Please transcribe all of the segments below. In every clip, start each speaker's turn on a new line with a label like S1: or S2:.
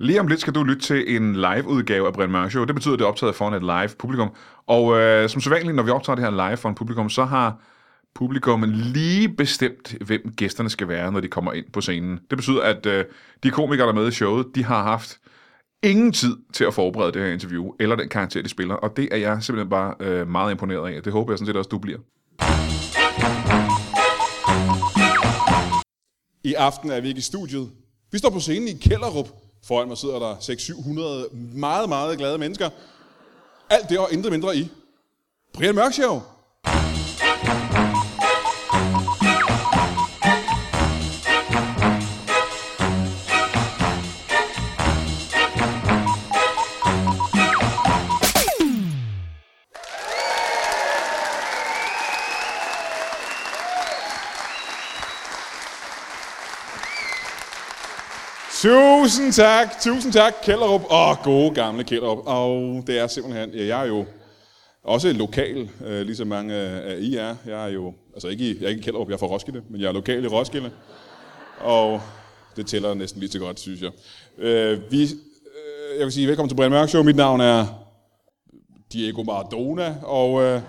S1: Lige om lidt skal du lytte til en live-udgave af Brian Mørk Show. Det betyder, at det er optaget foran et live publikum. Og øh, som sædvanligt, når vi optager det her live foran publikum, så har publikum lige bestemt, hvem gæsterne skal være, når de kommer ind på scenen. Det betyder, at øh, de komikere, der er med i showet, de har haft ingen tid til at forberede det her interview, eller den karakter, de spiller. Og det er jeg simpelthen bare øh, meget imponeret af. Det håber jeg sådan set også, du bliver.
S2: I aften er vi ikke i studiet. Vi står på scenen i Kælderup. Foran mig sidder der 600-700 meget, meget glade mennesker. Alt det og intet mindre i Brian Mørk Show. Tusind tak, tusind tak, Kælderup. Åh, gode gamle Kælderup. Og det er simpelthen, ja, jeg er jo også lokal, øh, ligesom mange øh, af I er. Jeg er jo, altså ikke i, jeg er ikke i Kælderup, jeg er fra Roskilde, men jeg er lokal i Roskilde. Og det tæller næsten lige så godt, synes jeg. Øh, vi, øh, jeg vil sige velkommen til Brian Mørk Show. Mit navn er Diego Maradona, og... Øh,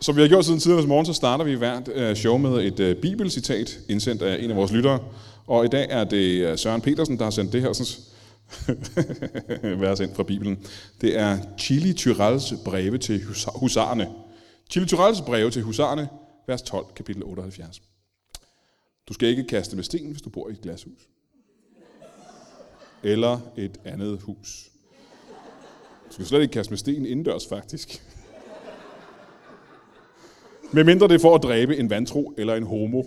S2: som vi har gjort siden tidernes morgen, så starter vi hvert øh, show med et øh, bibelcitat, indsendt af en af vores lyttere. Og i dag er det øh, Søren Petersen, der har sendt det her sådan, vers ind fra Bibelen. Det er Chili Tyrells breve til hus- husarerne. Chili Tyrells breve til husarerne, vers 12, kapitel 78. Du skal ikke kaste med sten, hvis du bor i et glashus. Eller et andet hus. Du skal slet ikke kaste med sten indendørs, faktisk. Medmindre det er for at dræbe en vantro eller en homo.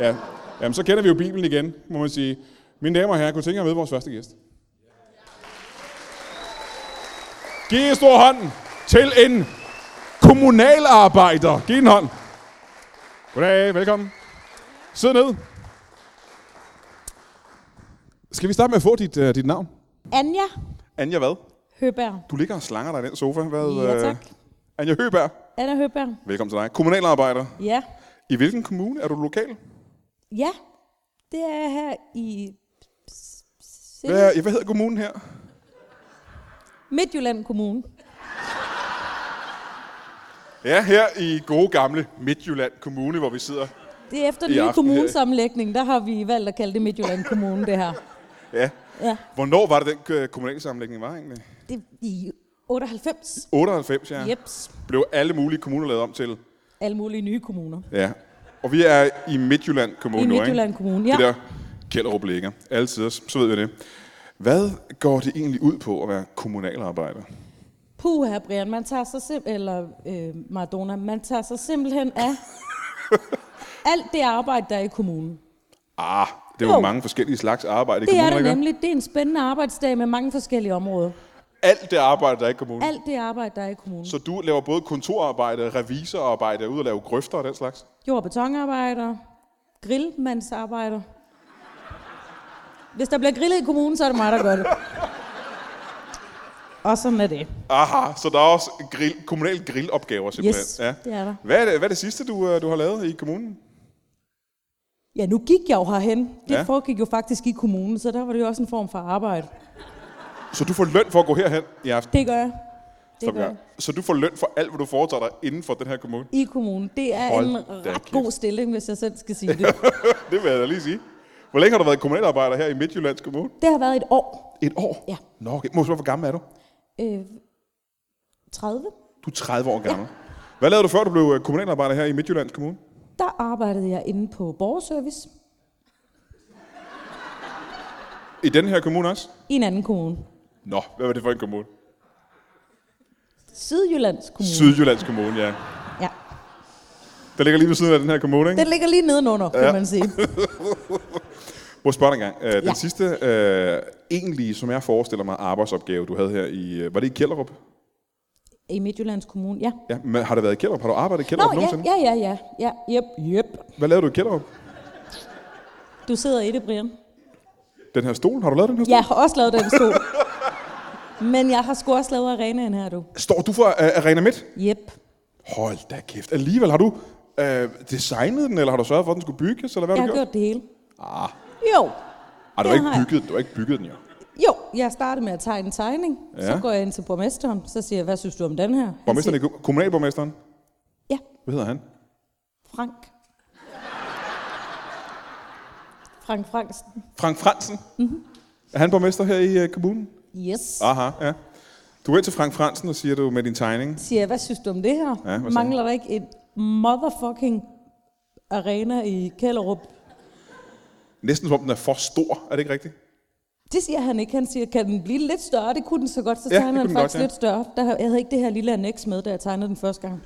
S2: Ja. Jamen, så kender vi jo Bibelen igen, må man sige. Mine damer og herrer, kunne tænke jer med vores første gæst? Giv en stor hånd til en kommunalarbejder. Giv en hånd. Goddag, velkommen. Sid ned. Skal vi starte med at få dit, uh, dit navn?
S3: Anja
S2: Anja hvad?
S3: Høberg.
S2: Du ligger og slanger dig i den sofa. Hvad,
S3: Ja,
S2: øh,
S3: tak.
S2: Anja Høberg,
S3: Anna Høberg.
S2: velkommen til dig. Kommunalarbejder.
S3: Ja.
S2: I hvilken kommune er du lokal?
S3: Ja, det er jeg her i S- S-
S2: Hvad, er, hvad hedder kommunen her?
S3: Midtjylland Kommune.
S2: Ja, her i gode gamle Midtjylland Kommune, hvor vi sidder.
S3: Det er efter
S2: I
S3: den nye
S2: aften her.
S3: kommunesammenlægning, der har vi valgt at kalde det Midtjylland Kommune, det her.
S2: Ja.
S3: Ja,
S2: Hvornår var det, den øh, kommunale sammenlægning var egentlig?
S3: det er i 98.
S2: 98, ja.
S3: Jeps.
S2: Blev alle mulige kommuner lavet om til.
S3: Alle mulige nye kommuner.
S2: Ja. Og vi er i Midtjylland Kommune
S3: I
S2: nu,
S3: Midtjylland Kommune,
S2: ikke?
S3: ja.
S2: Det der Kjellerup ligger. Alle tider, så ved vi det. Hvad går det egentlig ud på at være kommunalarbejder?
S3: Puh, her Brian, man tager sig sim- eller øh, Maradona, man tager sig simpelthen af alt det arbejde, der er i kommunen.
S2: Ah, det er jo,
S3: Jo.
S2: mange forskellige slags arbejde i
S3: Det er
S2: kommunen,
S3: det
S2: ikke?
S3: nemlig. Det er en spændende arbejdsdag med mange forskellige områder.
S2: Mm. Alt det arbejde, der er i kommunen.
S3: Alt det arbejde, der er i kommunen.
S2: Så du laver både kontorarbejde, revisorarbejde, er ude og lave grøfter og den slags?
S3: Jord- og betonarbejder, grillmandsarbejder. Hvis der bliver grillet i kommunen, så er det mig, der gør det. Og sådan er det.
S2: Aha, så der er også grill, kommunale grillopgaver simpelthen.
S3: Yes, det er der.
S2: Hvad er det, hvad er det sidste, du, øh, du har lavet i kommunen?
S3: Ja, nu gik jeg jo herhen. Det
S2: Ja.
S3: ja. foregik jo faktisk i kommunen, så der var det jo også en form for arbejde.
S2: Så du får løn for at gå herhen i aften?
S3: Det gør jeg. Det
S2: som
S3: gør
S2: jeg.
S3: jeg.
S2: Så du får løn for alt, hvad du foretager dig inden for den her kommune?
S3: I kommunen. Det er
S2: Hold
S3: en
S2: da
S3: ret
S2: kæft.
S3: god stilling, hvis jeg selv skal sige det.
S2: Det vil jeg da lige sige. Hvor længe har du været kommunalarbejder her i Midtjyllands Kommune?
S3: Det har været et år.
S2: Et år?
S3: Ja.
S2: Nå, okay. Må jeg spørge, hvor gammel er du?
S3: Øh, 30.
S2: Du er 30 år gammel. Hvad lavede du før, du blev øh, kommunalarbejder her i Midtjyllands Kommune?
S3: Der arbejdede jeg inde på borgerservice
S2: I den her kommune også?
S3: i en anden kommune.
S2: Nå, hvad var det for en kommune?
S3: Sydjyllands Kommune.
S2: Sydjyllands Kommune, ja.
S3: Ja.
S2: Der ligger lige ved siden af den her kommune, ikke?
S3: Den ligger lige nedenunder, ja. kan man sige.
S2: Må jeg spørge dig engang. Øh, den ja.
S3: Ja.
S2: sidste øh, egentlige, som jeg forestiller mig, arbejdsopgave, du havde her i... øh, Var det i Kjellerup?
S3: I Midtjyllands Kommune, ja.
S2: Ja, men har det været i Kjellerup? Har du arbejdet i
S3: Nå,
S2: Kjellerup
S3: ja,
S2: nogensinde?
S3: ja, ja, ja, ja, jep, jep.
S2: Hvad lavede du i Kjellerup?
S3: Du sidder i det, Brian.
S2: Den her stol? Har du lavet den her stol?
S3: Jeg har også lavet den stol. Men jeg har sgu også lavet arenaen her, du.
S2: Står du for øh, Arena Midt?
S3: Jep.
S2: Hold da kæft. Alligevel, har du øh, designet den, eller har du sørget for, at den skulle bygges? Eller hvad
S3: Jeg
S2: har
S3: har
S2: du gjort?
S3: gjort det hele. Ah.
S2: Ej,
S3: Jo.
S2: du
S3: det
S2: har ikke
S3: har jeg.
S2: bygget den. Du har ikke bygget den, jo.
S3: Jo, jeg starter med at tegne en tegning. Ja. Så
S2: Ja.
S3: går jeg ind til borgmesteren, så siger jeg, hvad synes du om den her? Han
S2: Borgmesteren, i Ku- kommunalborgmesteren,
S3: siger, Ja,
S2: hvad hedder han?
S3: Frank. Frank Franksen.
S2: Frank Fransen. Mm-hmm.
S3: Mhm.
S2: Er han borgmester her i øh, kommunen?
S3: Yes.
S2: Aha, ja. Du går ind til Frank Fransen og siger du med din tegning.
S3: siger jeg, hvad synes du om det her?
S2: Ja, hvad sagde
S3: Mangler der ikke et motherfucking arena i Kælderup?
S2: Næsten som om den er for stor, er det ikke rigtigt?
S3: Det siger han ikke. Han siger, kan den blive lidt større? Det kunne den så godt. Så
S2: Ja, det
S3: tegner
S2: kunne
S3: han
S2: den
S3: faktisk
S2: godt, ja.
S3: lidt større. Der, jeg havde ikke det her lille annex med, da jeg tegnede den første gang.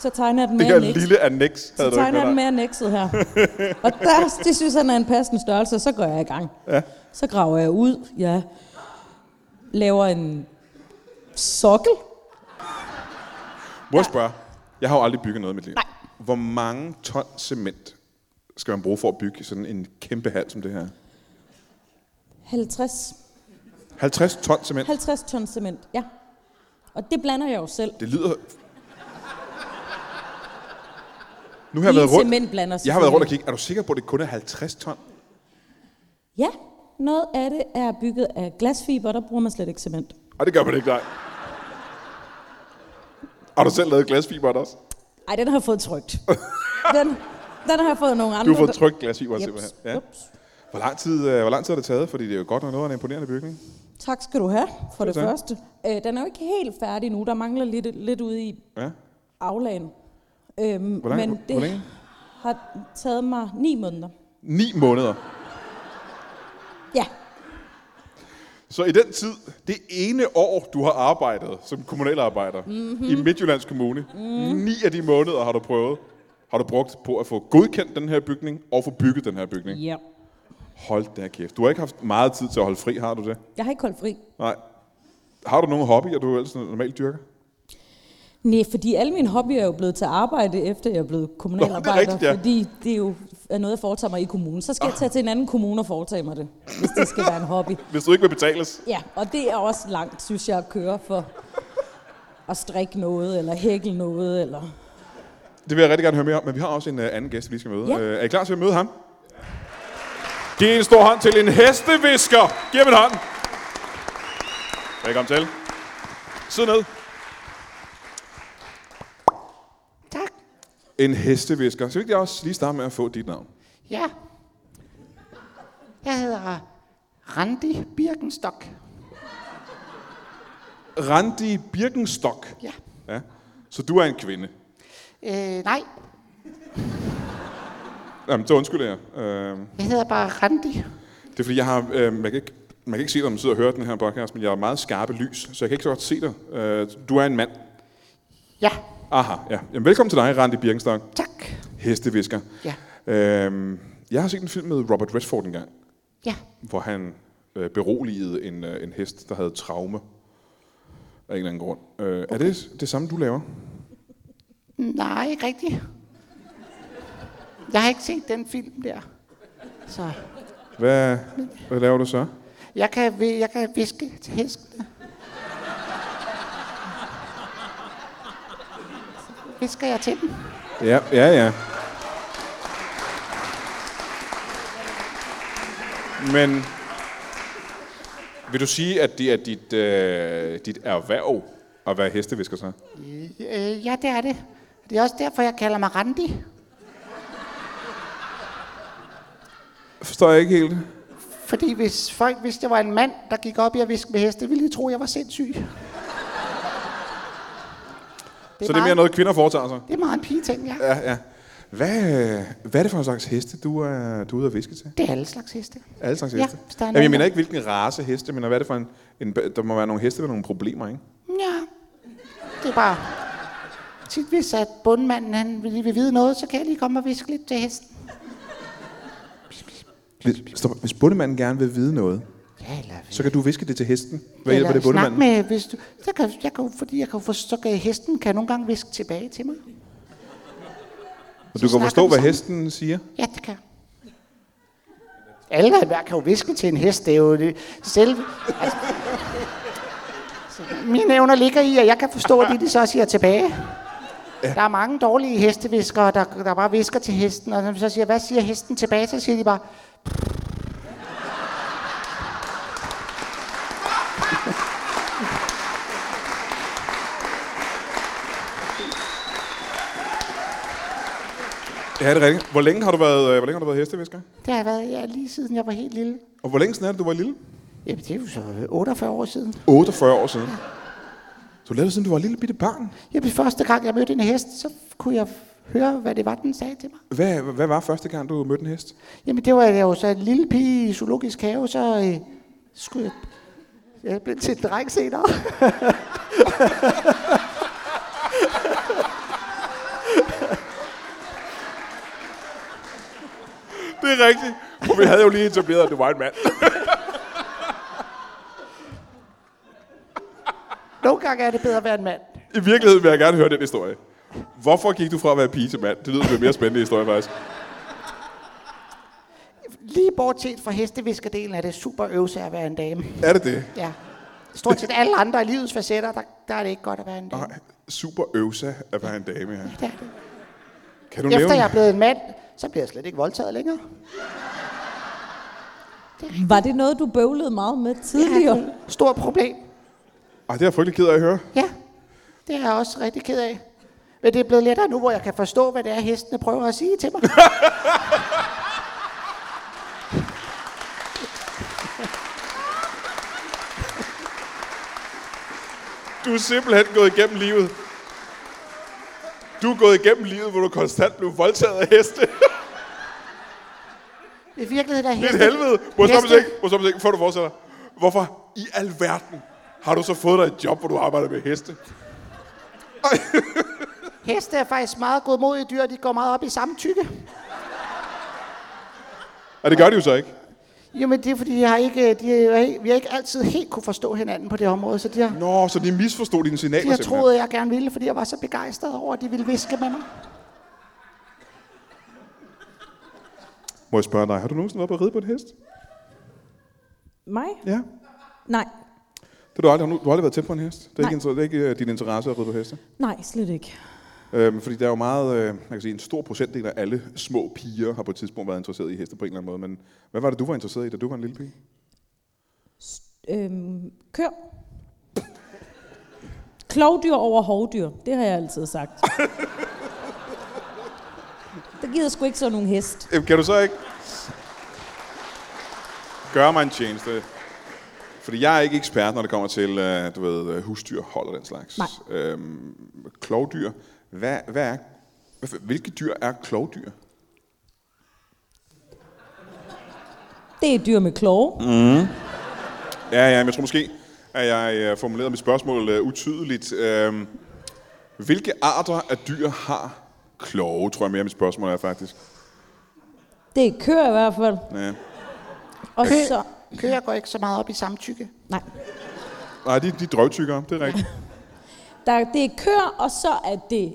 S3: Så tegner jeg den
S2: Det her
S3: med annex.
S2: lille annex havde
S3: Så
S2: du ikke
S3: tegner
S2: med
S3: jeg den med
S2: dig.
S3: annexet her. Og der, det synes han er en passende størrelse, og så går jeg i gang. Ja. Så graver jeg ud, jeg laver en sokkel.
S2: Må jeg spørge? Jeg har jo aldrig bygget noget i mit liv.
S3: Nej.
S2: Hvor mange ton cement skal man bruge for at bygge sådan en kæmpe hal som det her?
S3: 50
S2: 50 ton cement.
S3: 50 ton cement, ja. Og det blander jeg jo selv.
S2: Det lyder... Nu har jeg
S3: Jeg I
S2: været
S3: en
S2: rundt.
S3: cementblander.
S2: Jeg har været rundt og
S3: selvfølgelig.
S2: kigge. Er du sikker på, at det kun er 50 ton?
S3: Ja, noget af det er bygget af glasfiber, der bruger man slet ikke cement.
S2: Og det gør man ikke, nej. Har du selv lavet glasfiber også?
S3: Ej, den har jeg fået trygt. den, den har jeg fået nogle
S2: Du
S3: andre.
S2: har fået trykt glasfiber
S3: Jeps,
S2: simpelthen. Ja.
S3: jeps.
S2: Hvor, lang tid, øh, hvor lang tid har det taget? Fordi det er jo godt nok noget af en imponerende bygning.
S3: Tak skal du have for det
S2: tak.
S3: første. Øh, den er jo ikke helt færdig nu. Der mangler lidt, lidt ude i
S2: Ja.
S3: aflagen. Øhm,
S2: Hvor lang-
S3: men
S2: hvor-
S3: det
S2: hvor længe?
S3: har taget mig ni måneder.
S2: Ni måneder.
S3: Ja,
S2: Så i den tid, det ene år, du har arbejdet som kommunalarbejder mm-hmm. i Midtjyllands Kommune, mm. ni af de måneder har du prøvet, har du brugt på at få godkendt den her bygning og få bygget den her bygning.
S3: ja.
S2: Hold da kæft. Du har ikke haft meget tid til at holde fri, har du det?
S3: Jeg har ikke holdt fri.
S2: Nej. Har du nogle hobbyer, du ellers normalt dyrker?
S3: Nej, fordi alle mine hobbyer er jo blevet til arbejde, efter jeg er blevet kommunalarbejder.
S2: Nå, det er rigtigt, ja.
S3: Fordi det jo er noget, jeg foretager mig i kommunen. Så skal jeg tage til en anden kommune og foretage mig det, hvis det skal være en hobby.
S2: Hvis du ikke vil betales.
S3: Ja, og det er også langt, synes jeg, at køre for at strikke noget, eller hækle noget, eller...
S2: Det vil jeg rigtig gerne høre mere om, men vi har også en uh, anden gæst, vi lige skal møde.
S3: Ja.
S2: Ja. Uh, er I klar til at møde ham? Giv en stor hånd til en hestevisker. Giv ham en hånd. Velkommen til. Sid ned.
S4: Tak.
S2: En hestevisker. Skal vi ikke også lige starte med at få dit navn?
S4: Ja. Jeg hedder Randi Birkenstock.
S2: Randi Birkenstock.
S4: Ja.
S2: Ja. Så du er en kvinde.
S4: Øh, nej,
S2: Jamen, så undskylder jeg. Uh,
S4: jeg hedder bare Randi.
S2: det er fordi, jeg har... Uh, man, kan ikke, man kan ikke se dig, når man sidder og hører den her podcast, men jeg har meget skarpe lys, så jeg kan ikke så godt se dig. Uh, du er en mand.
S4: Ja,
S2: Aha, ja. Jamen, velkommen til dig, Randi Birkenstock.
S4: tak.
S2: Hestevisker.
S4: Ja.
S2: Øhm, jeg har set en film med Robert Redford engang,
S4: Ja,
S2: hvor han øh, beroligede en, øh, en hest, der havde traume af en eller anden grund. Øh, okay. Er det det samme, du laver?
S4: nej, ikke rigtigt. Jeg har ikke set den film der. Så
S2: Hvad, hvad laver du så?
S4: jeg kan, hvi- jeg kan viske til hestene. Visker jeg til dem?
S2: Ja, ja, ja. Men vil du sige, at det er dit, øh, dit erhverv at være hestevisker så?
S4: Øh, ja, det er det. Det er også derfor, jeg kalder mig Randi.
S2: Forstår jeg ikke helt.
S4: Fordi hvis folk vidste, jeg var en mand, der gik op i at viske med heste, ville de tro, jeg var sindssyg. Det er,
S2: så det er mere noget, kvinder foretager sig?
S4: Det er meget en pigeting, ja.
S2: Ja, ja. Hvad, hvad er det for en slags heste, du er, du er ude at fiske til?
S4: Det er alle slags heste.
S2: Alle slags
S4: Ja,
S2: heste?
S4: hvis der er
S2: Jamen, jeg
S4: nogen,
S2: mener
S4: der-
S2: ikke, hvilken race heste, men hvad er det for en, en... Der må være nogle heste med nogle problemer, ikke?
S4: Ja, det er bare... Tit hvis at bundmanden han lige vil vide noget, så kan jeg lige komme og viske lidt til hesten.
S2: Hvis, stop, hvis bundemanden gerne vil vide noget,
S4: Ja, eller,
S2: så kan du viske det til hesten. Hvad
S4: eller
S2: hjælper det
S4: snak
S2: bundemanden?
S4: med, hvis du, så kan, jeg kan, jo- fordi jeg kan, jo for, så kan hesten kan nogle gange viske tilbage til mig.
S2: Og du kan
S4: snakker
S2: forstå,
S4: vi
S2: hvad
S4: sammen.
S2: hesten siger?
S4: Ja, det kan jeg. Alle og enhver kan jo viske til en hest, det er jo det selv. Altså, så mine evner ligger i, at jeg kan forstå, at de, de så siger tilbage. Der er mange dårlige hesteviskere, der, der bare visker til hesten, og når man så siger, hvad siger hesten tilbage, så siger de bare...
S2: Ja, det er rigtigt. Hvor længe har du været, øh, hvor længe har du været hestevisker?
S4: Det har jeg været ja, lige siden jeg var helt lille.
S2: Og hvor længe siden er det, du var lille?
S4: Jamen, det er jo så 48 år siden.
S2: 48 år siden. Så du lavede det, siden du var et lille bitte barn.
S4: Jamen, første gang jeg mødte en hest, så kunne jeg høre, hvad det var, den sagde til mig.
S2: Hvad, hvad var første gang, du mødte en hest?
S4: Jamen, det var jeg jo så en lille pige i zoologisk have, så øh, skulle jeg... Jeg blev til en dreng senere.
S2: Det er rigtigt. For vi havde jo lige etableret, at du var en mand.
S4: Nogle gange er det bedre at være en mand.
S2: I virkeligheden vil jeg gerne høre den historie. Hvorfor gik du fra at være pige til mand? Det lyder som en mere spændende historie, faktisk.
S4: Lige bortset fra hesteviskerdelen er det super øvelse at være en dame.
S2: Er det det?
S4: Ja. Stort set alle andre i livets facetter, der, der er det ikke godt at være en dame.
S2: Nej. Super øvsa at være en dame her.
S4: Det er det.
S2: Kan du
S4: Efter
S2: nævne?
S4: jeg er blevet en mand, så bliver jeg slet ikke voldtaget længere.
S3: Var det noget, du bøvlede meget med tidligere?
S4: Stort problem.
S2: Ej, det er jeg frygtelig ked af at høre.
S4: Ja, det er jeg også rigtig ked af. Men det er blevet lettere nu, hvor jeg kan forstå, hvad det er, hestene prøver at sige til mig.
S2: Du er simpelthen gået igennem livet. Du er gået igennem livet, hvor du konstant blev voldtaget af heste.
S4: I virkeligheden er
S2: Det er
S4: heste...
S2: et helvede. Må jeg stoppe
S4: Heste-
S2: ikke? Må jeg stoppe ikke, før du fortsætter? Hvorfor i alverden har du så fået dig et job, hvor du arbejder med heste?
S4: Heste er faktisk meget godmodige dyr, de går meget op i samtykke.
S2: Og det gør de jo så ikke.
S4: Jamen, det er fordi, jeg har ikke, de, er- vi har ikke altid helt kunne forstå hinanden på det område, så de har,
S2: Nå, så de misforstod dine signaler
S4: de har
S2: simpelthen.
S4: troet, at jeg gerne ville, fordi jeg var så begejstret over, at de ville viske med mig.
S2: Må jeg spørge dig, har du nogensinde været på at ride på en hest?
S3: Mig?
S2: Ja.
S3: Nej.
S2: Det har du aldrig, har du- du har aldrig været tæt på en hest. Det er,
S3: Nej.
S2: ikke, inter- det er ikke øh, din interesse at ride på heste.
S3: Nej, slet ikke.
S2: Øhm, fordi der er jo meget, øh, man kan sige, en stor procentdel af alle små piger har på et tidspunkt været interesseret i heste på en eller anden måde. Men hvad var det, du var interesseret i, da du var en lille pige?
S3: Øhm, kør. Klovdyr over hovdyr, det har jeg altid sagt. Der gider sgu ikke sådan nogen hest.
S2: Jamen, kan du så ikke gøre mig en tjeneste? Fordi jeg er ikke ekspert, når det kommer til, øh, du ved, øh, husdyrhold og den slags.
S3: Nej.
S2: Øhm, klovdyr. Hvad, hvad er, hvad for- hvilke dyr er klovdyr?
S3: Det er dyr med klove. Mm.
S2: Ja, ja, men jeg tror måske, at jeg øh, formulerede mit spørgsmål øh, utydeligt. Øhm, hvilke arter af dyr har kloge, tror jeg mere, mit spørgsmål er faktisk.
S3: Det er køer i hvert fald.
S2: Ja.
S3: Og så...
S4: Køer går ikke så meget op i samtykke.
S3: Nej.
S2: Nej, de, de er drøvtykkere, det er rigtigt.
S3: Der, det er køer, og så er det...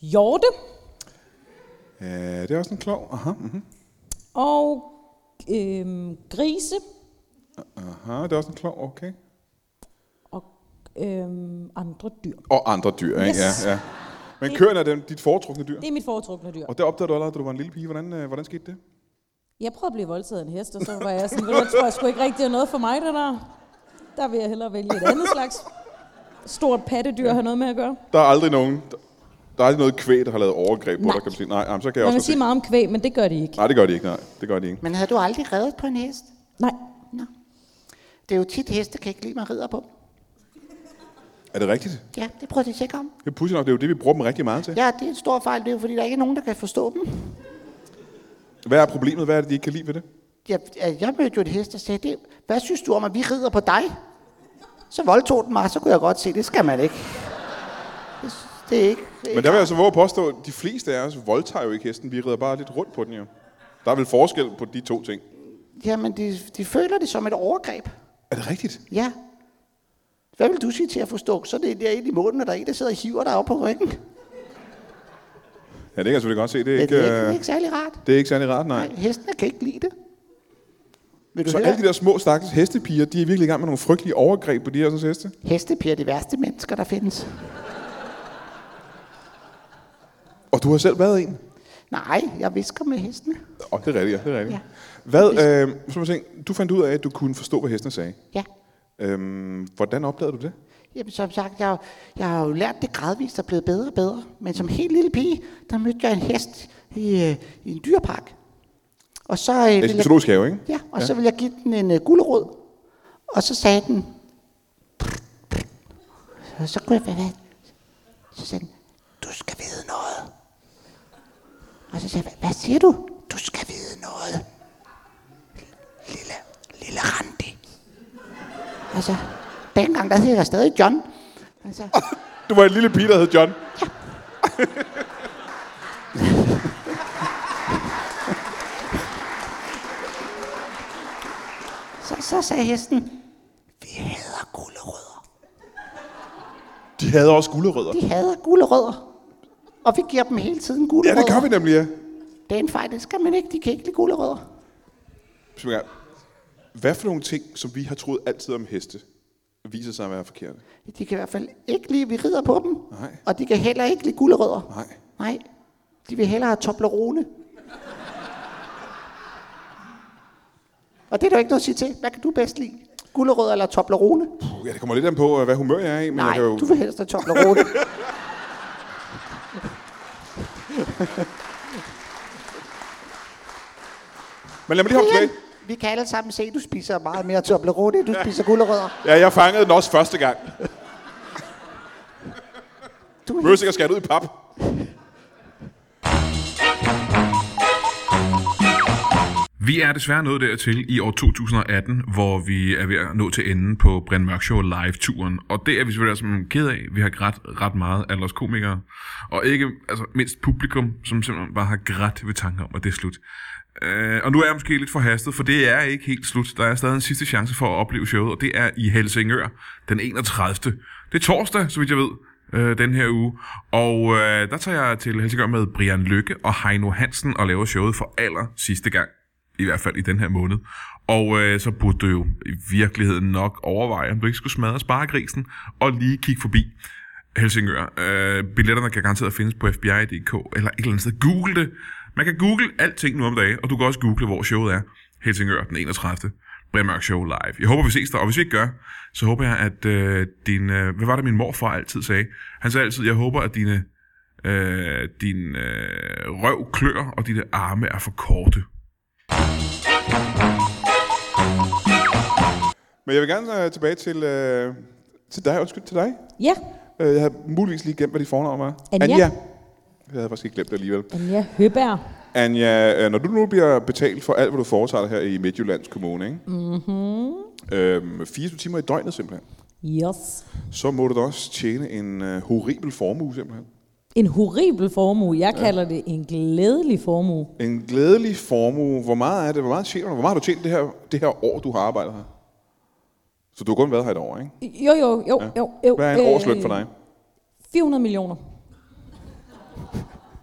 S3: Hjorte.
S2: Ja, det er også en klog. Aha, mhm.
S3: Og øhm, grise.
S2: aha, det er også en klog, okay.
S3: Og øhm, andre dyr.
S2: Og andre dyr, ikke?
S3: Yes.
S2: Ja, ja. Men køerne er dem, dit foretrukne dyr.
S3: Det er mit foretrukne dyr.
S2: Og det opdagede du allerede, da du var en lille pige. Hvordan, øh, hvordan skete det?
S3: Jeg prøvede at blive voldtaget af en hest, og så var jeg sådan, "Ved du hvad, jeg tror jeg sgu ikke rigtig er noget for mig, det der. Der vil jeg hellere vælge et andet slags stort pattedyr ja. har noget med at gøre.
S2: Der er aldrig nogen... Der, der er aldrig noget kvæg, der har lavet overgreb på
S3: Nej.
S2: dig, kan man sige. Nej, jamen, så kan jeg også
S3: Man kan
S2: godt
S3: sige
S2: se.
S3: meget om kvæg, men det gør de ikke.
S2: Nej, det gør de ikke, nej. Det gør de ikke.
S4: Men havde du aldrig reddet på en hest?
S3: Nej.
S4: Nå. Det er jo tit, heste kan ikke lide, man rider på. dem.
S2: Er det rigtigt?
S4: Ja, det prøver de at tjekke om.
S2: Det er pudsigt nok, det er jo det, vi bruger dem rigtig meget til.
S4: Ja, det er en stor fejl. Det er jo, fordi der ikke er nogen, der kan forstå dem.
S2: Hvad er problemet? Hvad er det, de ikke kan lide ved det?
S4: Jeg, jeg mødte jo en hest, der sagde, det, hvad synes du om, at vi rider på dig? Så voldtog den mig, så kunne jeg godt se, det skal man ikke. Det, det er ikke... Det er
S2: Men
S4: ikke.
S2: der vil jeg så våge at påstå, at de fleste af os voldtager jo ikke hesten. Vi rider bare lidt rundt på den jo. Der er vel forskel på de to ting.
S4: Jamen, de, de føler det som et overgreb.
S2: Er det rigtigt?
S4: Ja. Hvad vil du sige til at forstå? Så det er der ind i munden, og der er en, der sidder og hiver dig op på ryggen.
S2: Ja, det kan jeg selvfølgelig godt se. Det er
S4: Men
S2: ikke,
S4: det, er ikke, det er
S2: øh,
S4: ikke særlig rart.
S2: det er ikke særlig rart, nej.
S4: Nej, hestene kan ikke lide det. Vil du
S2: Så
S4: høre?
S2: alle de der små stakkels hestepiger, de er virkelig i gang med nogle frygtelige overgreb på de her sådan heste.
S4: Hestepiger er de værste mennesker, der findes.
S2: Og du har selv været en.
S4: Nej, jeg visker med hestene.
S2: Åh, det er rigtigt, ja. Det er rigtigt. Ja.
S4: Ja.
S2: Hvad, øh, så må jeg tænke, du fandt ud af, at du kunne forstå, hvad hestene sagde.
S4: Ja.
S2: Øhm, hvordan opdagede du det?
S4: Jamen, som sagt, jeg, jeg har jo lært det gradvist og blevet bedre og bedre. Men som helt lille pige, der mødte jeg en hest i, øh, i en dyrepark. Og så, øh,
S2: Det
S4: ville
S2: er en
S4: jeg-
S2: zoologisk have, ikke?
S4: Ja, og ja. så ville jeg give den en uh, gulerod. Og så sagde den... Så, så kunne jeg... Hvad, hvad? Så sagde den, du skal vide noget. Og så sagde jeg, "Hva- hvad siger du? Du skal vide noget. Lille, lille Randi. Og så, dengang, der hed jeg stadig John. Og så,
S2: Du var en lille pige, der hed John.
S4: så, så sagde hesten, vi hader gulerødder.
S2: De havde også gulerødder.
S4: Vi hader gulerødder. Og vi giver dem hele tiden
S2: Ja,
S4: gulerødder.
S2: det gør vi nemlig, ja.
S4: Det er en fejl, det skal man ikke. De kan ikke lide gulerødder.
S2: Så vi gør- Hvad for nogle ting, som vi har troet altid om heste, viser sig at være forkerte?
S4: De kan i hvert fald ikke lide, at vi rider på dem.
S2: Nej.
S4: Og de kan heller ikke lide gulerødder.
S2: Nej.
S4: Nej. De vil hellere have Toblerone. og det er der jo ikke noget at sige til. Hvad kan du bedst lide? Gulerødder eller Toblerone?
S2: Puh, Ja, det kommer lidt an på, øh, hvad humør jeg er i, men jeg
S4: Nej,
S2: kan jo...
S4: du vil helst have Toblerone.
S2: Men lad mig lige hoppe tilbage.
S4: vi kan alle sammen se, at du spiser meget mere Toblerone, end du spiser gulerødder.
S2: Ja, jeg fangede den også første gang.
S4: Du er
S2: Møsik er skæret ud i pap.
S1: Vi er desværre nået dertil i år 2018, hvor vi er ved at nå til enden på Brian Mørk Show Live-turen. Og det er vi selvfølgelig altså ked af. Vi har grædt ret meget af os komikere. Og ikke altså, mindst publikum, som simpelthen bare har grædt ved tanken om, at det er slut. Øh, og nu er jeg måske lidt forhastet, for det er ikke helt slut. Der er stadig en sidste chance for at opleve showet, og det er i Helsingør den 31. Det er torsdag, så vidt jeg ved, øh, den her uge. Og øh, der tager jeg til Helsingør med Brian Lykke og Heino Hansen og laver showet for aller sidste gang i hvert fald i den her måned. Og øh, så burde du jo i virkeligheden nok overveje, om du ikke skulle smadre sparegrisen og lige kigge forbi Helsingør. Øh, billetterne kan garanteret findes på FBI.dk eller et eller andet sted. Google det. Man kan google alting nu om dagen, og du kan også google, hvor showet er. Helsingør den 31. Brian Mørk Show live. Jeg håber, vi ses der, og hvis vi ikke gør, så håber jeg, at øh, din... Øh, hvad var det, min morfar altid sagde? Han sagde altid, jeg håber, at dine, øh, din øh, røv klør, og dine arme er for korte.
S2: Men jeg vil gerne øh, tilbage til, øh, til dig. Undskyld, til dig.
S3: Ja,
S2: Øh, jeg havde muligvis lige glemt, hvad dit fornavn var.
S3: Anja.
S2: Jeg havde faktisk ikke glemt det alligevel.
S3: Anja Høberg.
S2: Anja, øh, når du nu bliver betalt for alt, hvad du foretager dig her i Midtjyllands Kommune, ikke? Mm-hmm. Øhm, 24 timer i døgnet simpelthen,
S3: Yes.
S2: så må du da også tjene en øh, horribel formue simpelthen.
S3: En horribel formue. Jeg kalder det en glædelig formue.
S2: En glædelig formue. Hvor meget er det? Hvor meget tjener du? Hvor meget har du tjent det her, det her år, du har arbejdet her? Så du har kun været her et år, ikke?
S3: Jo, jo, jo, ja. jo, jo.
S2: Hvad er en øh, årsløn for dig?
S3: 400 millioner.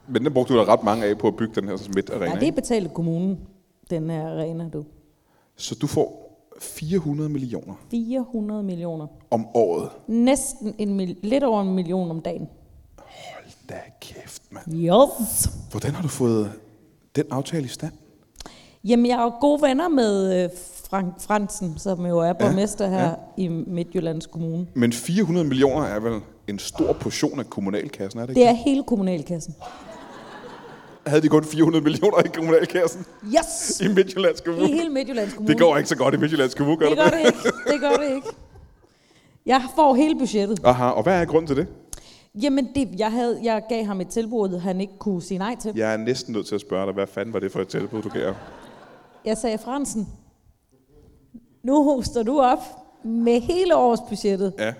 S2: Men den brugte du da ret mange af på at bygge den her midt arena.
S3: Ja, det er betalt af kommunen, den her arena, du.
S2: Så du får 400 millioner
S3: 400 millioner.
S2: om året.
S3: Næsten en mil- lidt over en million om dagen.
S2: Hold da kæft, mand.
S3: Yes.
S2: Hvordan har du fået den aftale i stand?
S3: Jamen, jeg er jo gode venner med øh, Frank Fransen, som jo er borgmester her ja. i Midtjyllands Kommune.
S2: Men 400 millioner er vel en stor portion af kommunalkassen, er det ikke?
S3: Det er hele kommunalkassen.
S2: Havde de kun 400 millioner i kommunalkassen
S3: Yes!
S2: i Midtjyllands Kommune?
S3: I hele Midtjyllands Kommune.
S2: Det går ikke så godt i Midtjyllands Kommune, gør
S3: Det gør det ikke. Det gør det ikke. Jeg får hele budgettet.
S2: Aha, og hvad er grunden til det?
S3: Jamen, det, jeg, havde, jeg gav ham et tilbud, han ikke kunne sige nej til.
S2: Jeg er næsten nødt til at spørge dig, hvad fanden var det for et tilbud, du gav?
S3: Jeg sagde, Fransen, nu hoster du op med hele årsbudgettet.
S2: Ja.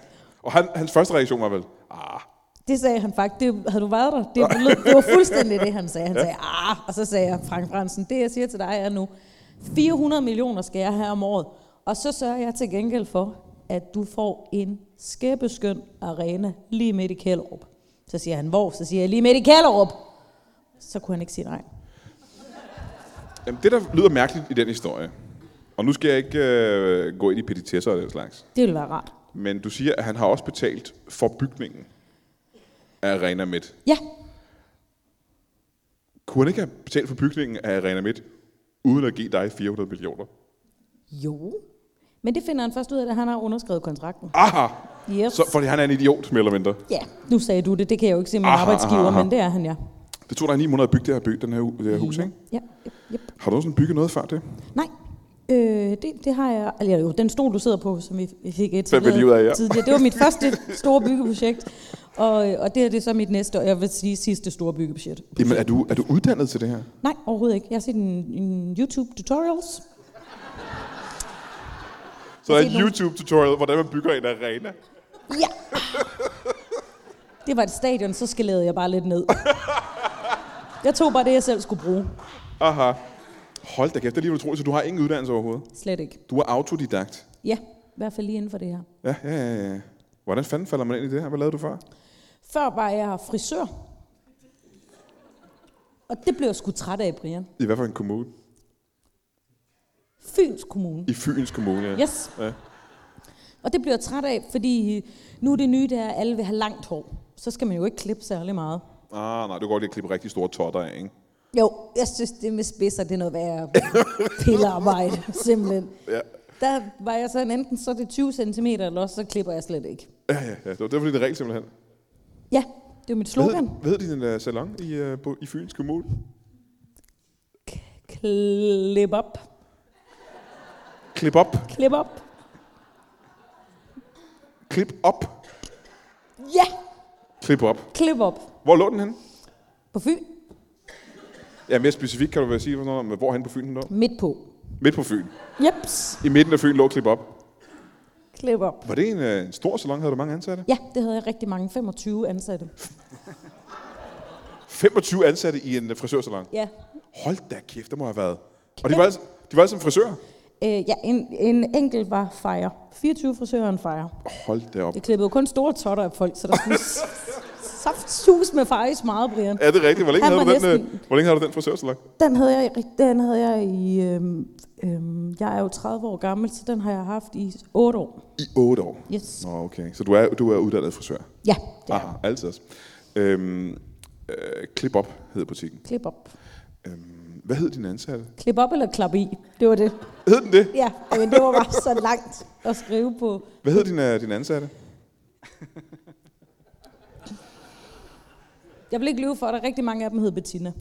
S2: Og han, hans første reaktion var vel, ah,
S3: Det sagde han faktisk. Det, havde du været der? Det, lød, det var fuldstændig det, han sagde. Han sagde, ah, og så sagde jeg, Frank Fransen, det jeg siger til dig er nu, 400 millioner skal jeg have om året. Og så sørger jeg til gengæld for, at du får en skæbeskøn arena lige midt i Kælderup. Så siger han, hvor? Så siger jeg, lige midt i Kælderup. Så kunne han ikke sige nej.
S2: Jamen, det, der lyder mærkeligt i den historie, og nu skal jeg ikke øh, gå ind i petitesser og den slags,
S3: Det ville være rart.
S2: men du siger, at han har også betalt for bygningen af Arena Midt.
S3: Ja,
S2: Kunne han ikke have betalt for bygningen af Arena Midt, uden at give dig 400 millioner?
S3: jo. Men det finder han først ud af, at han har underskrevet kontrakten.
S2: Aha!
S3: Yep.
S2: Ah, Så, fordi han er en idiot, mere eller mindre.
S3: Ja, nu sagde du det. Det kan jeg jo ikke se min
S2: Aha,
S3: arbejdsgiver,
S2: aha, aha.
S3: men det er han, ja.
S2: Det tog dig 9 måneder at bygge det her, by, den her, hu- det her ah. hus, ikke?
S3: Ja, yep, yep.
S2: Har du nogensinde bygget noget før det?
S3: Nej, øh, det, det har jeg... Eller jo, den stol, du sidder på, som vi vi fik et
S2: lige ud af, ja.
S3: tidligere. Det var mit første store byggeprojekt. Og, øh, og det her det er så mit næste, og jeg vil sige sidste store byggeprojekt.
S2: Jamen, er du, er du uddannet til det her?
S3: Nej, overhovedet ikke. Jeg har set en, en YouTube tutorials.
S2: Så der er
S3: set
S2: et
S3: nogle-
S2: YouTube-tutorial, hvordan man bygger en arena.
S3: Ja! Det var et stadion, så skalerede jeg bare lidt ned. Jeg tog bare det, jeg selv skulle bruge.
S2: Aha. Hold da kæft, det er lige utroligt. Så du har ingen uddannelse overhovedet?
S3: Slet ikke.
S2: Du er autodidakt.
S3: Ja, i hvert fald lige inden for det her.
S2: Ja, ja, ja, ja. Hvordan fanden falder man ind i det her? Hvad lavede du før?
S3: Før var jeg frisør. Og det blev jeg sgu træt af, Brian.
S2: I hvad for en kommune?
S3: Fyns Kommune.
S2: I Fyns Kommune, ja.
S3: Yes.
S2: Ja.
S3: Og det bliver jeg træt af, fordi nu er det nye, det er, at alle vil have langt hår. Så skal man jo ikke klippe særlig meget.
S2: Ah, nej, du kan godt lige klippe rigtig store totter af, ikke?
S3: Jo, jeg synes, det med spidser, det er noget værre pillearbejde, simpelthen.
S2: Ja.
S3: Der var jeg sådan, enten så er det 20 cm, eller også så klipper jeg slet ikke.
S2: Ja, ja, ja. Det var derfor, din regel simpelthen.
S3: Ja, det er mit
S2: Hvad
S3: slogan.
S2: hed- Hvad hed din uh, salon i, uh, på, i Fyns Kommune?
S3: Klip op.
S2: Klip op.
S3: Klip op.
S2: Klip op.
S3: Ja,
S2: Klip op.
S3: klip op.
S2: Hvor lå den henne?
S3: På Fyn.
S2: Ja, mere specifikt kan du vel sige, hvornår- hvor hen på Fyn den lå?
S3: Midt på.
S2: Midt på Fyn.
S3: Jeps.
S2: I midten af Fyn lå Klip op.
S3: Klip op.
S2: Var det en, uh, en stor salon? Havde du mange ansatte?
S3: Ja, det havde jeg rigtig mange. 25 ansatte.
S2: 25 ansatte i en øh, frisørsalon.
S3: Ja.
S2: Hold da kæft, det må have været. Og de var, altså, de var altså frisører.
S3: Øh, ja, en, en enkelt var fejre. 24 frisører og en fejre.
S2: Hold da op.
S3: Jeg klippede jo kun store totter af folk, så der skulle saft sus med faktisk meget, Brian.
S2: Er det rigtigt? Hvor længe,
S3: Han
S2: havde du,
S3: var
S2: den,
S3: næsten-
S2: øh, hvor længe havde du den frisørsalon?
S3: Den havde jeg, i- den havde jeg i... Øhm, øhm, jeg er jo 30 år gammel, så den har jeg haft i 8 år.
S2: I 8 år.
S3: Yes.
S2: Nå, okay. Så du er, du er uddannet frisør?
S3: Ja, ja.
S2: Aha, altid også. Øhm, øh, klip op hed butikken.
S3: Klip op.
S2: Øhm, hvad hed din ansatte?
S3: Klip op eller klap i? Det var det.
S2: Hed den det?
S3: Ja, men det var bare så langt at skrive på.
S2: Hvad hed din, øh, din ansatte?
S3: Jeg vil ikke lyve for, at der er rigtig mange af dem hed Bettina.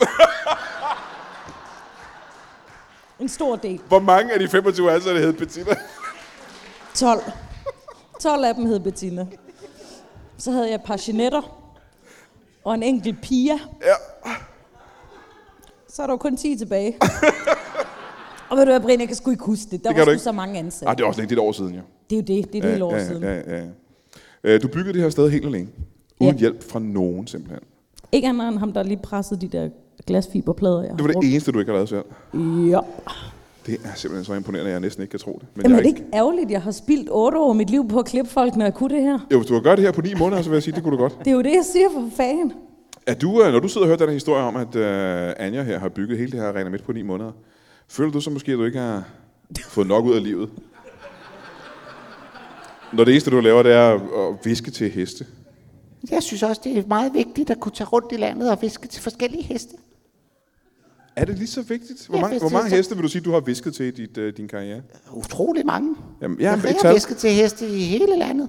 S3: En stor del.
S2: Hvor mange af de 25 ansatte hed Bettina?
S3: 12. 12 af dem hed Bettina. Så havde jeg et par genetter og en enkelt Pia.
S2: Ja.
S3: Så er der jo kun 10 tilbage. og ved du hvad, Brian, jeg kan sgu ikke huske det. Der
S2: Det kan
S3: var
S2: du
S3: sgu
S2: ikke.
S3: så mange ansatte.
S2: Ah, det er også længe, det er et år siden, jo.
S3: Det er jo det. Det er et helt år
S2: ja,
S3: siden.
S2: Ja, ja, ja. Øh, Du byggede det her sted helt alene. Uden
S3: Ja.
S2: hjælp fra nogen, simpelthen.
S3: Ikke andet end ham, der lige pressede de der glasfiberplader, jeg
S2: Det var det eneste, du ikke har lavet selv.
S3: Ja.
S2: Det er simpelthen så imponerende, at jeg næsten ikke kan tro det. Men
S3: Jamen,
S2: jeg
S3: er det ikke ærgerligt, jeg har spildt 8 år af mit liv på at klippe folk, når jeg kunne det her?
S2: Jo, hvis du har gjort det her på ni måneder, så vil jeg sige, det kunne du godt.
S3: Det er jo det, jeg siger for fanden.
S2: Er du, øh, når du sidder og hører den her historie om, at uh, Anja her har bygget hele det her arena midt på ni måneder, føler du så måske, at du ikke har fået nok ud af livet? Når det eneste, du laver, det er at viske til heste.
S4: Jeg synes også, det er meget vigtigt at kunne tage rundt i landet og fiske til forskellige heste.
S2: Er det lige så vigtigt? Hvor
S4: Ja,
S2: mange,
S4: hvis
S2: hvor
S4: det-
S2: mange
S4: så-
S2: heste vil du sige, du har visket til i dit, uh, din karriere?
S4: Utrolig mange.
S2: Jamen,
S4: Jeg
S2: ja, men ikke
S4: har
S2: tal.
S4: fisket til heste i hele landet.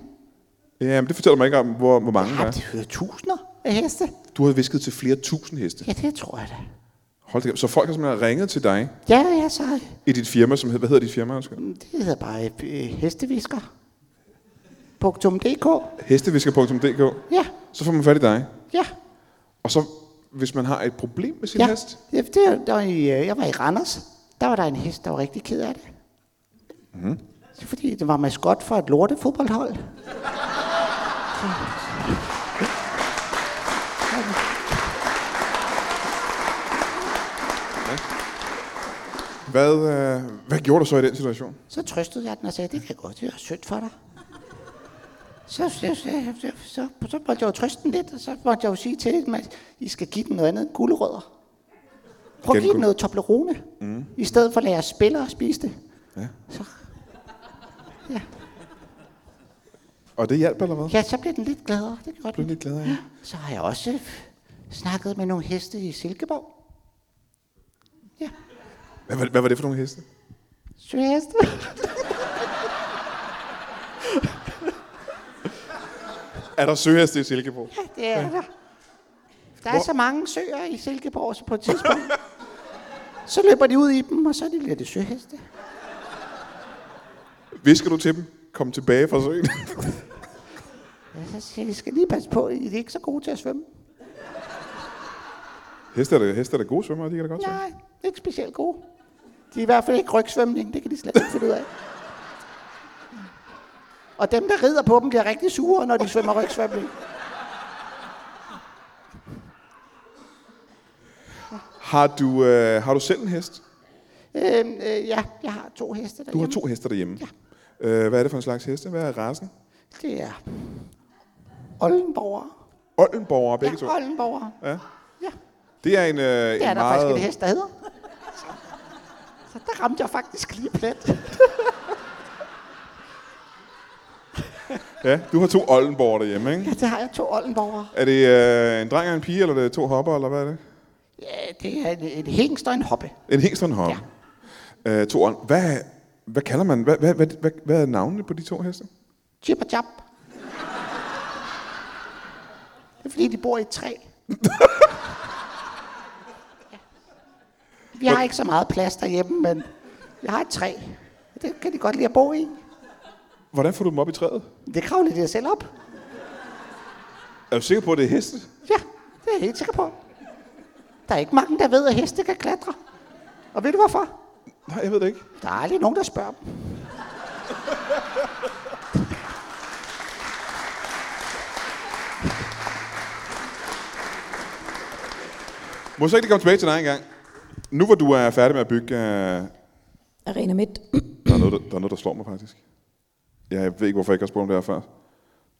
S2: Ja, men det fortæller mig ikke om, hvor, hvor mange der
S4: Ja,
S2: er.
S4: det hører tusinder af heste.
S2: Du har visket til flere tusind heste.
S4: Ja, det tror jeg da.
S2: Hold da, kæft. så folk har simpelthen ringet til dig
S4: Ja, ja, så
S2: i dit firma, som hed, hvad hedder dit firma? undskyld?
S4: det hedder bare øh, hestevisker. .dk.
S2: Hestevisker.dk
S4: Ja,
S2: Så får man fat i dig.
S4: ja.
S2: Og så, hvis man har et problem med sin
S4: ja.
S2: ja. hest,
S4: Ja, det, der var i, øh, jeg var i Randers. Der var der en hest, der var rigtig ked af det. Mm.
S2: Mhm.
S4: Fordi det var maskot for et lortefodboldhold.
S2: hvad, øh, hvad gjorde du så i den situation?
S4: Så trøstede jeg den og sagde, det kan godt, det er synd for dig. Så, så, så, så, så, så måtte jeg jo trøste den lidt, og så måtte jeg jo sige til dem, at I skal give den noget andet end gulerødder. Prøv
S2: Gennem
S4: at give
S2: gul-
S4: den noget Toblerone, mm. i stedet for at lade jer spille og spise det.
S2: Og det hjalp eller hvad?
S4: Ja, så blev den lidt gladere, det gjorde
S2: Blev
S4: den.
S2: lidt gladere, ja.
S4: Så har jeg også øh, snakket med nogle heste i Silkeborg. Ja,
S2: Hvad, hvad, hvad var det for nogle heste?
S4: søheste.
S2: Er der søheste i Silkeborg?
S4: Det er der. Der er så mange søer i Silkeborg, så på et tidspunkt, så løber de ud i dem, og så er de lidt søheste.
S2: Visker du til dem? Kom tilbage fra søen.
S4: Ja, så siger jeg, I skal lige passe på, I er ikke så gode til at svømme.
S2: heste, er da, heste er da gode svømmere, de kan da godt svømme.
S4: Nej, ikke specielt gode. De er i hvert fald ikke rygsvømning, det kan de slet ikke finde ud af. Og dem, der rider på dem, bliver rigtig sure, når de svømmer rygsvømning.
S2: Har du, øh, har du selv en hest?
S4: Øhm, øh, ja, jeg har to heste
S2: Du
S4: derhjemme.
S2: har to heste derhjemme. Ja. Øh, hvad er det for en slags heste? Hvad er rasen?
S4: Det er Oldenborgere.
S2: Oldenborger, begge to.
S4: Ja, Oldenborgere.
S2: Ja.
S4: Ja,
S2: Det er en, øh, det
S4: det er
S2: en
S4: der faktisk
S2: meget...
S4: en hest, der hedder. Så der ramte jeg faktisk lige plet.
S2: Ja, du har to Oldenborger derhjemme, ikke?
S4: Ja, det har jeg to Oldenborgere.
S2: Er det øh, en dreng og en pige, eller er det to hopper, eller hvad er det?
S4: Ja, det er en, en hængst og en hoppe.
S2: En hingst og en hopper. Ja. Øh, to on. Hvad, hvad kalder man? Hvad, hvad, hvad, hvad, hvad er navnene på de to heste?
S4: Chip og chap. Det er fordi, de bor i et træ. ja. Vi har ikke så meget plads derhjemme, men jeg har et træ. Det kan de godt lide at bo i.
S2: Hvordan får du dem op i træet?
S4: Det kravler de selv op.
S2: Er du sikker på, at det er heste?
S4: Ja, det er jeg helt sikker på. Der er ikke mange, der ved, at heste kan klatre. Og ved du hvorfor?
S2: Nej, jeg ved det ikke.
S4: Der er aldrig nogen, der spørger dem.
S2: Må jeg så ikke lige komme tilbage til dig engang? Nu hvor du er færdig med at bygge... Øh,
S3: Arena Midt.
S2: der, er noget, der, der er noget, der slår mig faktisk. Ja, jeg ved ikke, hvorfor jeg ikke har spurgt om det her før.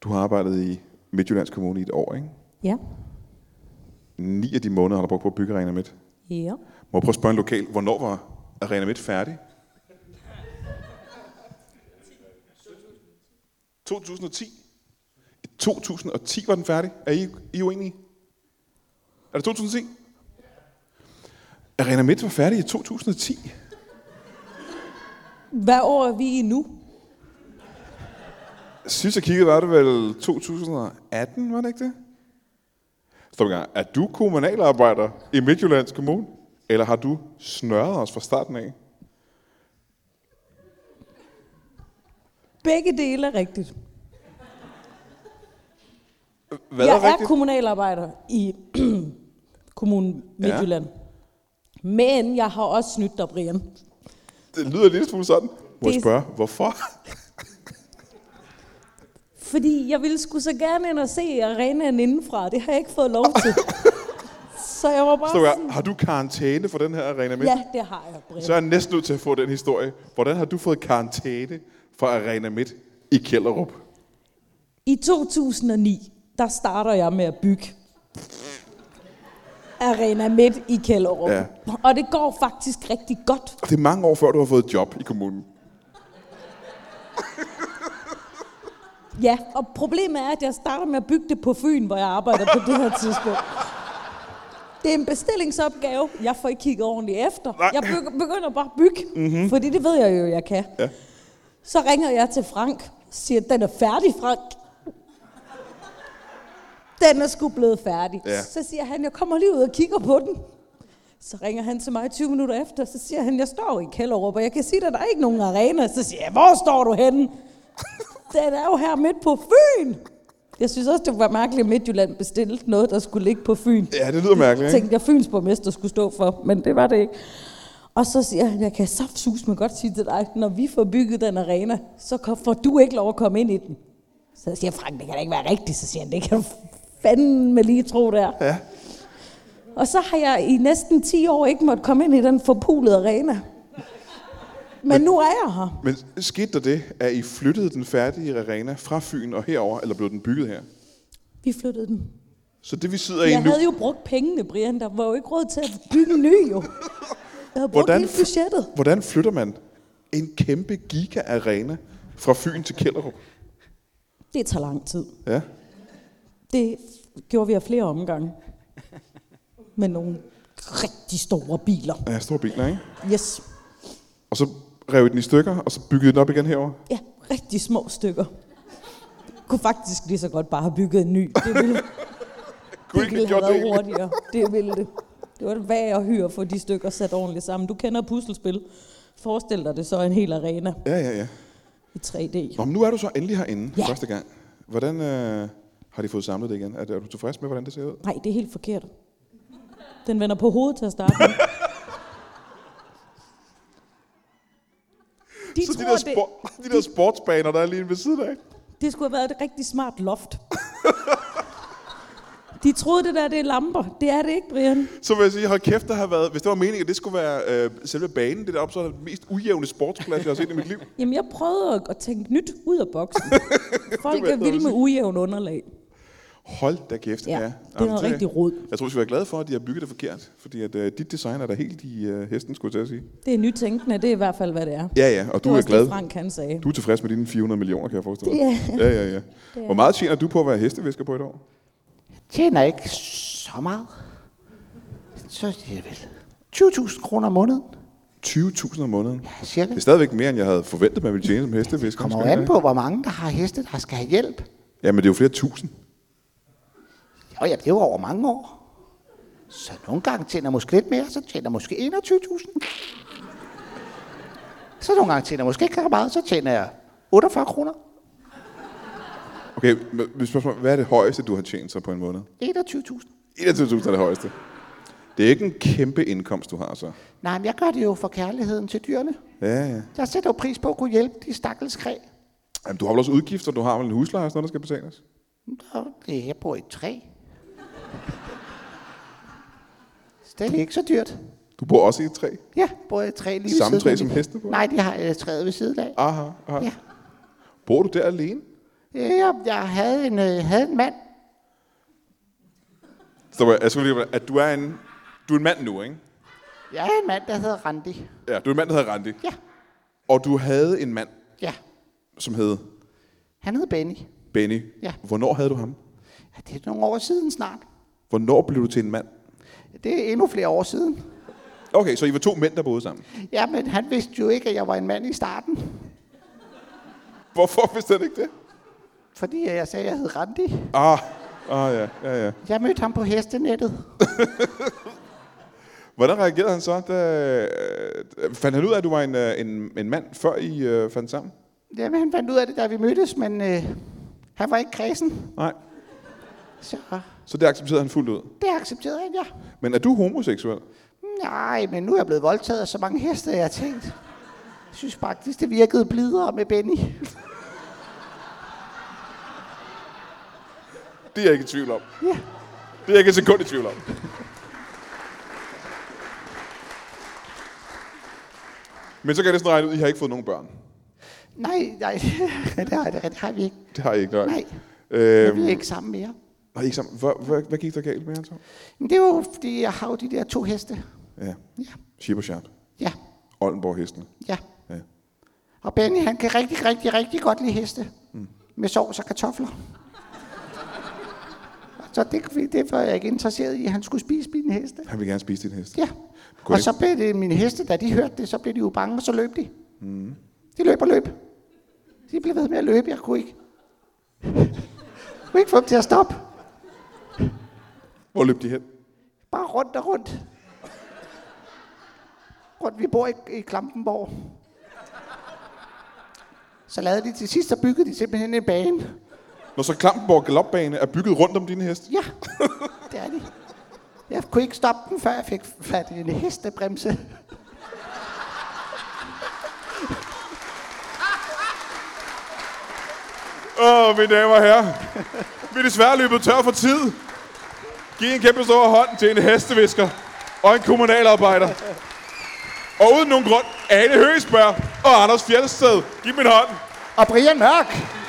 S2: Du har arbejdet i Midtjyllands Kommune i et år, ikke?
S3: ja.
S2: Ni af de måneder har du brugt på at bygge Arena Midt.
S3: Ja.
S2: Må jeg prøve at spørge en lokal, hvornår var Arena Midt færdig? 2010. I 2010 var den færdig. Er I, I uenige? Er det 2010? Arena Midt var færdig i 2010.
S3: Hvad år er vi i nu?
S2: Sidst jeg kiggede, var det vel 2018, var det ikke det? Stop en gang. Er du kommunalarbejder i Midtjyllands Kommune? Eller har du snørret os fra starten af?
S3: Begge dele er rigtigt.
S2: Hvad
S3: jeg
S2: er rigtigt?
S3: er kommunalarbejder i kommunen Midtjylland. Ja. Men jeg har også snydt dig, Brian.
S2: Det lyder en lille smule sådan. Må jeg
S3: Det-
S2: spørge, hvorfor?
S3: Fordi jeg ville skulle så gerne ind og se arenaen indenfra. Det har jeg ikke fået lov til. så jeg var bare
S2: Stå
S3: sådan,
S2: her. Har du karantæne for den her arena midt?
S3: ja, det har jeg, Brian.
S2: Så er jeg næsten nødt til at få den historie. Hvordan har du fået karantæne for arena midt i Kjellerup?
S3: I 2009, der starter jeg med at bygge Arena Midt i Kjellerup.
S2: Ja.
S3: Ja. Og det går faktisk rigtig godt.
S2: Det er mange år før, du har fået job i kommunen.
S3: Ja, og problemet er, at jeg starter med at bygge det på Fyn, hvor jeg arbejder på det her tidspunkt. Det er en bestillingsopgave. Jeg får ikke kigget ordentligt
S2: Nej.
S3: efter.
S2: Mhm.
S3: Nej. Jeg begy- begynder bare at bygge, mm-hmm. fordi det ved jeg jo, jeg kan.
S2: Ja.
S3: Så ringer jeg til Frank og siger, den er færdig, Frank. Den er sgu blevet færdig.
S2: Ja.
S3: Så siger han, jeg kommer lige ud og kigger på den. Så ringer han til mig 20 minutter efter, så siger han, jeg står i Kælderup, og jeg kan sige dig, der er ikke nogen arena. Så siger jeg, hvor står du henne? Den er jo her midt på Fyn. Jeg synes også, det var mærkeligt, at Midtjylland bestilte noget, der skulle ligge på Fyn.
S2: Ja, det lyder mærkeligt, ikke?
S3: tænkte jeg, Fyns borgmester skulle stå for, men det var det ikke. Og så siger han, jeg kan saftsus med godt sige til dig, når vi får bygget den arena, så ko- får du ikke lov at komme ind i den. Så siger Frank, det kan da ikke være rigtigt. Så siger han, det kan du fandme lige tro, der.
S2: Ja.
S3: Og så har jeg i næsten 10 år ikke måtte komme ind i den forpulede arena. Men nu er jeg her.
S2: Men skete der det, at I flyttede den færdige arena fra Fyn og herover, eller blev den bygget her?
S3: Vi flyttede den.
S2: Så det, vi sidder i
S3: Jeg
S2: nu...
S3: havde jo brugt pengene, Brian. Der var jo ikke råd til at bygge en ny, jo. Jeg havde brugt
S2: Hvordan
S3: hele
S2: f-
S3: budgettet.
S2: Hvordan flytter man en kæmpe giga-arena fra Fyn til Kjellerup?
S3: Det tager lang tid.
S2: Ja.
S3: Det gjorde vi af flere omgange. Med nogle rigtig store biler.
S2: Ja, store biler, ikke?
S3: Yes.
S2: Og så rev I den i stykker, og så byggede I den op igen herover.
S3: Ja, rigtig små stykker. kunne faktisk lige så godt bare have bygget en ny. Det ville,
S2: Kunne
S3: det
S2: ikke
S3: ville
S2: have
S3: have
S2: gjort det
S3: været
S2: egentlig.
S3: hurtigere. Det ville det. Det var et værd at hyre for de stykker sat ordentligt sammen. Du kender puslespil. Forestil dig det så en hel arena
S2: Ja, ja, ja.
S3: i 3D.
S2: Nå, men nu er du så endelig herinde ja.
S3: Ja.
S2: første gang. Hvordan øh, har de fået samlet det igen? Er, er du tilfreds med, hvordan det ser ud?
S3: Nej, det er helt forkert. Den vender på hovedet til at starte med. De
S2: så de
S3: tror,
S2: der,
S3: det,
S2: spor- de der sportsbaner, der er lige ved siden af.
S3: det skulle have været et rigtig smart loft. De troede, det der det er lamper. Det er det ikke, Brian.
S2: Så vil jeg sige, hold kæft, der har været, hvis det var meningen, at det skulle være øh, selve banen, det der op, så er det den mest ujævne sportsplads, jeg har set i mit liv.
S3: Jamen, jeg prøvede at, at tænke nyt ud af boksen. Folk
S2: hvad
S3: er vilde med ujævn underlag.
S2: Hold da kæft.
S3: Ja, det er
S2: Jamen,
S3: noget rigtig rod.
S2: Jeg tror, vi skal være glade for, at de har bygget det forkert, fordi at, øh, dit design er da helt i øh, hesten, skulle jeg til at sige.
S3: Det er nytænkende, det er i hvert fald, hvad det er.
S2: Ja, ja, og du
S3: det var
S2: er
S3: også
S2: glad.
S3: Det, Frank han sagde.
S2: Du er tilfreds med dine 400 millioner, kan jeg forestille mig.
S3: Det
S2: Ja, ja, ja. Hvor meget tjener du på at være hestevisker på et år?
S4: Tjener ikke så meget. Så er det vel 20.000 kroner om måneden,
S2: 20.000 om måneden.
S4: cirka.
S2: Det er stadigvæk mere, end jeg havde forventet, man ville tjene som hestevisker.
S4: kommer jo
S2: Skal jeg
S4: an
S2: have
S4: på, hvor mange, der har heste, der skal have hjælp.
S2: det? Ja, men det er jo flere tusind.
S4: Og ja, det er jo over mange år. Så nogle gange tjener måske lidt mere, så tjener måske 21.000. Så nogle gange tjener jeg måske ikke så meget, så tjener jeg 48 kroner.
S2: Okay, men men spørgsmål, hvad er det højeste, du har tjent så på en måned?
S4: 21.000.
S2: 21.000 er det højeste. Det er ikke en kæmpe indkomst, du har så.
S4: Nej, men jeg gør det jo for kærligheden til dyrene.
S2: Ja, ja.
S4: Jeg sætter jo pris på at kunne hjælpe de stakkels kræ.
S2: Jamen, du har vel også udgifter, du har vel en husleje og sådan noget, der skal betales?
S4: Og det jeg bor i et træ. Så Det er ikke så dyrt.
S2: Du bor også i et træ?
S4: Ja, bor i et træ lige
S2: Samme
S4: ved siden
S2: træ
S4: af
S2: som
S4: mit-
S2: hestene bor i?
S4: Nej, de har øh, træet ved siden af.
S2: Aha, aha.
S4: Ja.
S2: Bor du der alene?
S4: Ja, jeg havde en, øh, havde en mand.
S2: Så må jeg jeg skulle lige, at du er en, du er en mand nu, ikke?
S4: Jeg havde en mand, der hed Randi.
S2: Ja, du er en mand, der hedder Randi.
S4: Ja,
S2: Og du havde en mand,
S4: ja.
S2: som hed
S4: Han hed Benny.
S2: Benny.
S4: Ja.
S2: Hvornår havde du ham?
S4: Ja, det er nogle år siden snart.
S2: Hvornår blev du til en mand?
S4: Det er endnu flere år siden.
S2: Okay, så I var to mænd, der boede sammen.
S4: Ja, men han vidste jo ikke, at jeg var en mand i starten.
S2: Hvorfor vidste han ikke det?
S4: Fordi jeg sagde, at jeg hed Randi.
S2: Ah, ah ja, ja, ja.
S4: Jeg mødte ham på hestenettet.
S2: Hvordan reagerede han så? Da, øh, fandt han ud af, at du var en, øh, en, en mand, før I øh, fandt sammen?
S4: Jamen, han fandt ud af det, da vi mødtes, men øh, han var ikke kredsen.
S2: Nej.
S4: Så
S2: Så det accepterede han fuldt ud.
S4: det accepterede han, ja.
S2: Men er du homoseksuel?
S4: Nej, men nu er jeg blevet voldtaget af så mange heste, jeg har tænkt. Jeg synes faktisk, det virkede blidere med Benny.
S2: Det er jeg ikke i tvivl om.
S4: Ja.
S2: Det er jeg ikke et sekund i tvivl om. Men så kan jeg næsten regne ud, at I har ikke fået nogen børn.
S4: Nej, nej, det har, det, det har vi ikke.
S2: Det har I ikke, nej.
S4: Nej,
S2: Øhm,
S4: vi er ikke sammen mere.
S2: har I ikke sammen. Hvad, hvad, hvad gik der galt med, Anton?
S4: Men det er jo, fordi jeg har jo de der to heste.
S2: Ja.
S4: Ja,
S2: Shib og Sharp.
S4: ja,
S2: Oldenborg hestene.
S4: ja.
S2: Ja.
S4: Og Benny, han kan rigtig, rigtig, rigtig godt lide heste. Mm. Med sovs og kartofler. Så det, det var jeg ikke interesseret i, at han skulle spise mine heste.
S2: Han vil gerne spise din hest.
S4: Ja.
S2: Kunne
S4: og
S2: det-
S4: så blev det mine heste, da de hørte det, så blev de jo bange, og så løb de. Mm. De løb og løb. De blev ved med at løbe, jeg kunne ikke. jeg kunne ikke få dem til at stoppe.
S2: Hvor løb de hen?
S4: Bare rundt og rundt. Rundt, vi bor i, i Klampenborg. Så lavede de til sidst, så byggede de simpelthen en bane.
S2: Når så Klampenborg Galopbane er bygget rundt om dine heste.
S4: Ja, det er de. Jeg kunne ikke stoppe dem, før jeg fik fat i en hestebremse.
S2: Åh, mine damer og herrer. Vi er desværre løbet tør for tid. Giv en kæmpe stor hånd til en hestevisker og en kommunalarbejder. Og uden nogen grund, Ane Høgsberg og Anders Fjeldsted. Giv dem en hånd.
S4: Og Brian Mørk!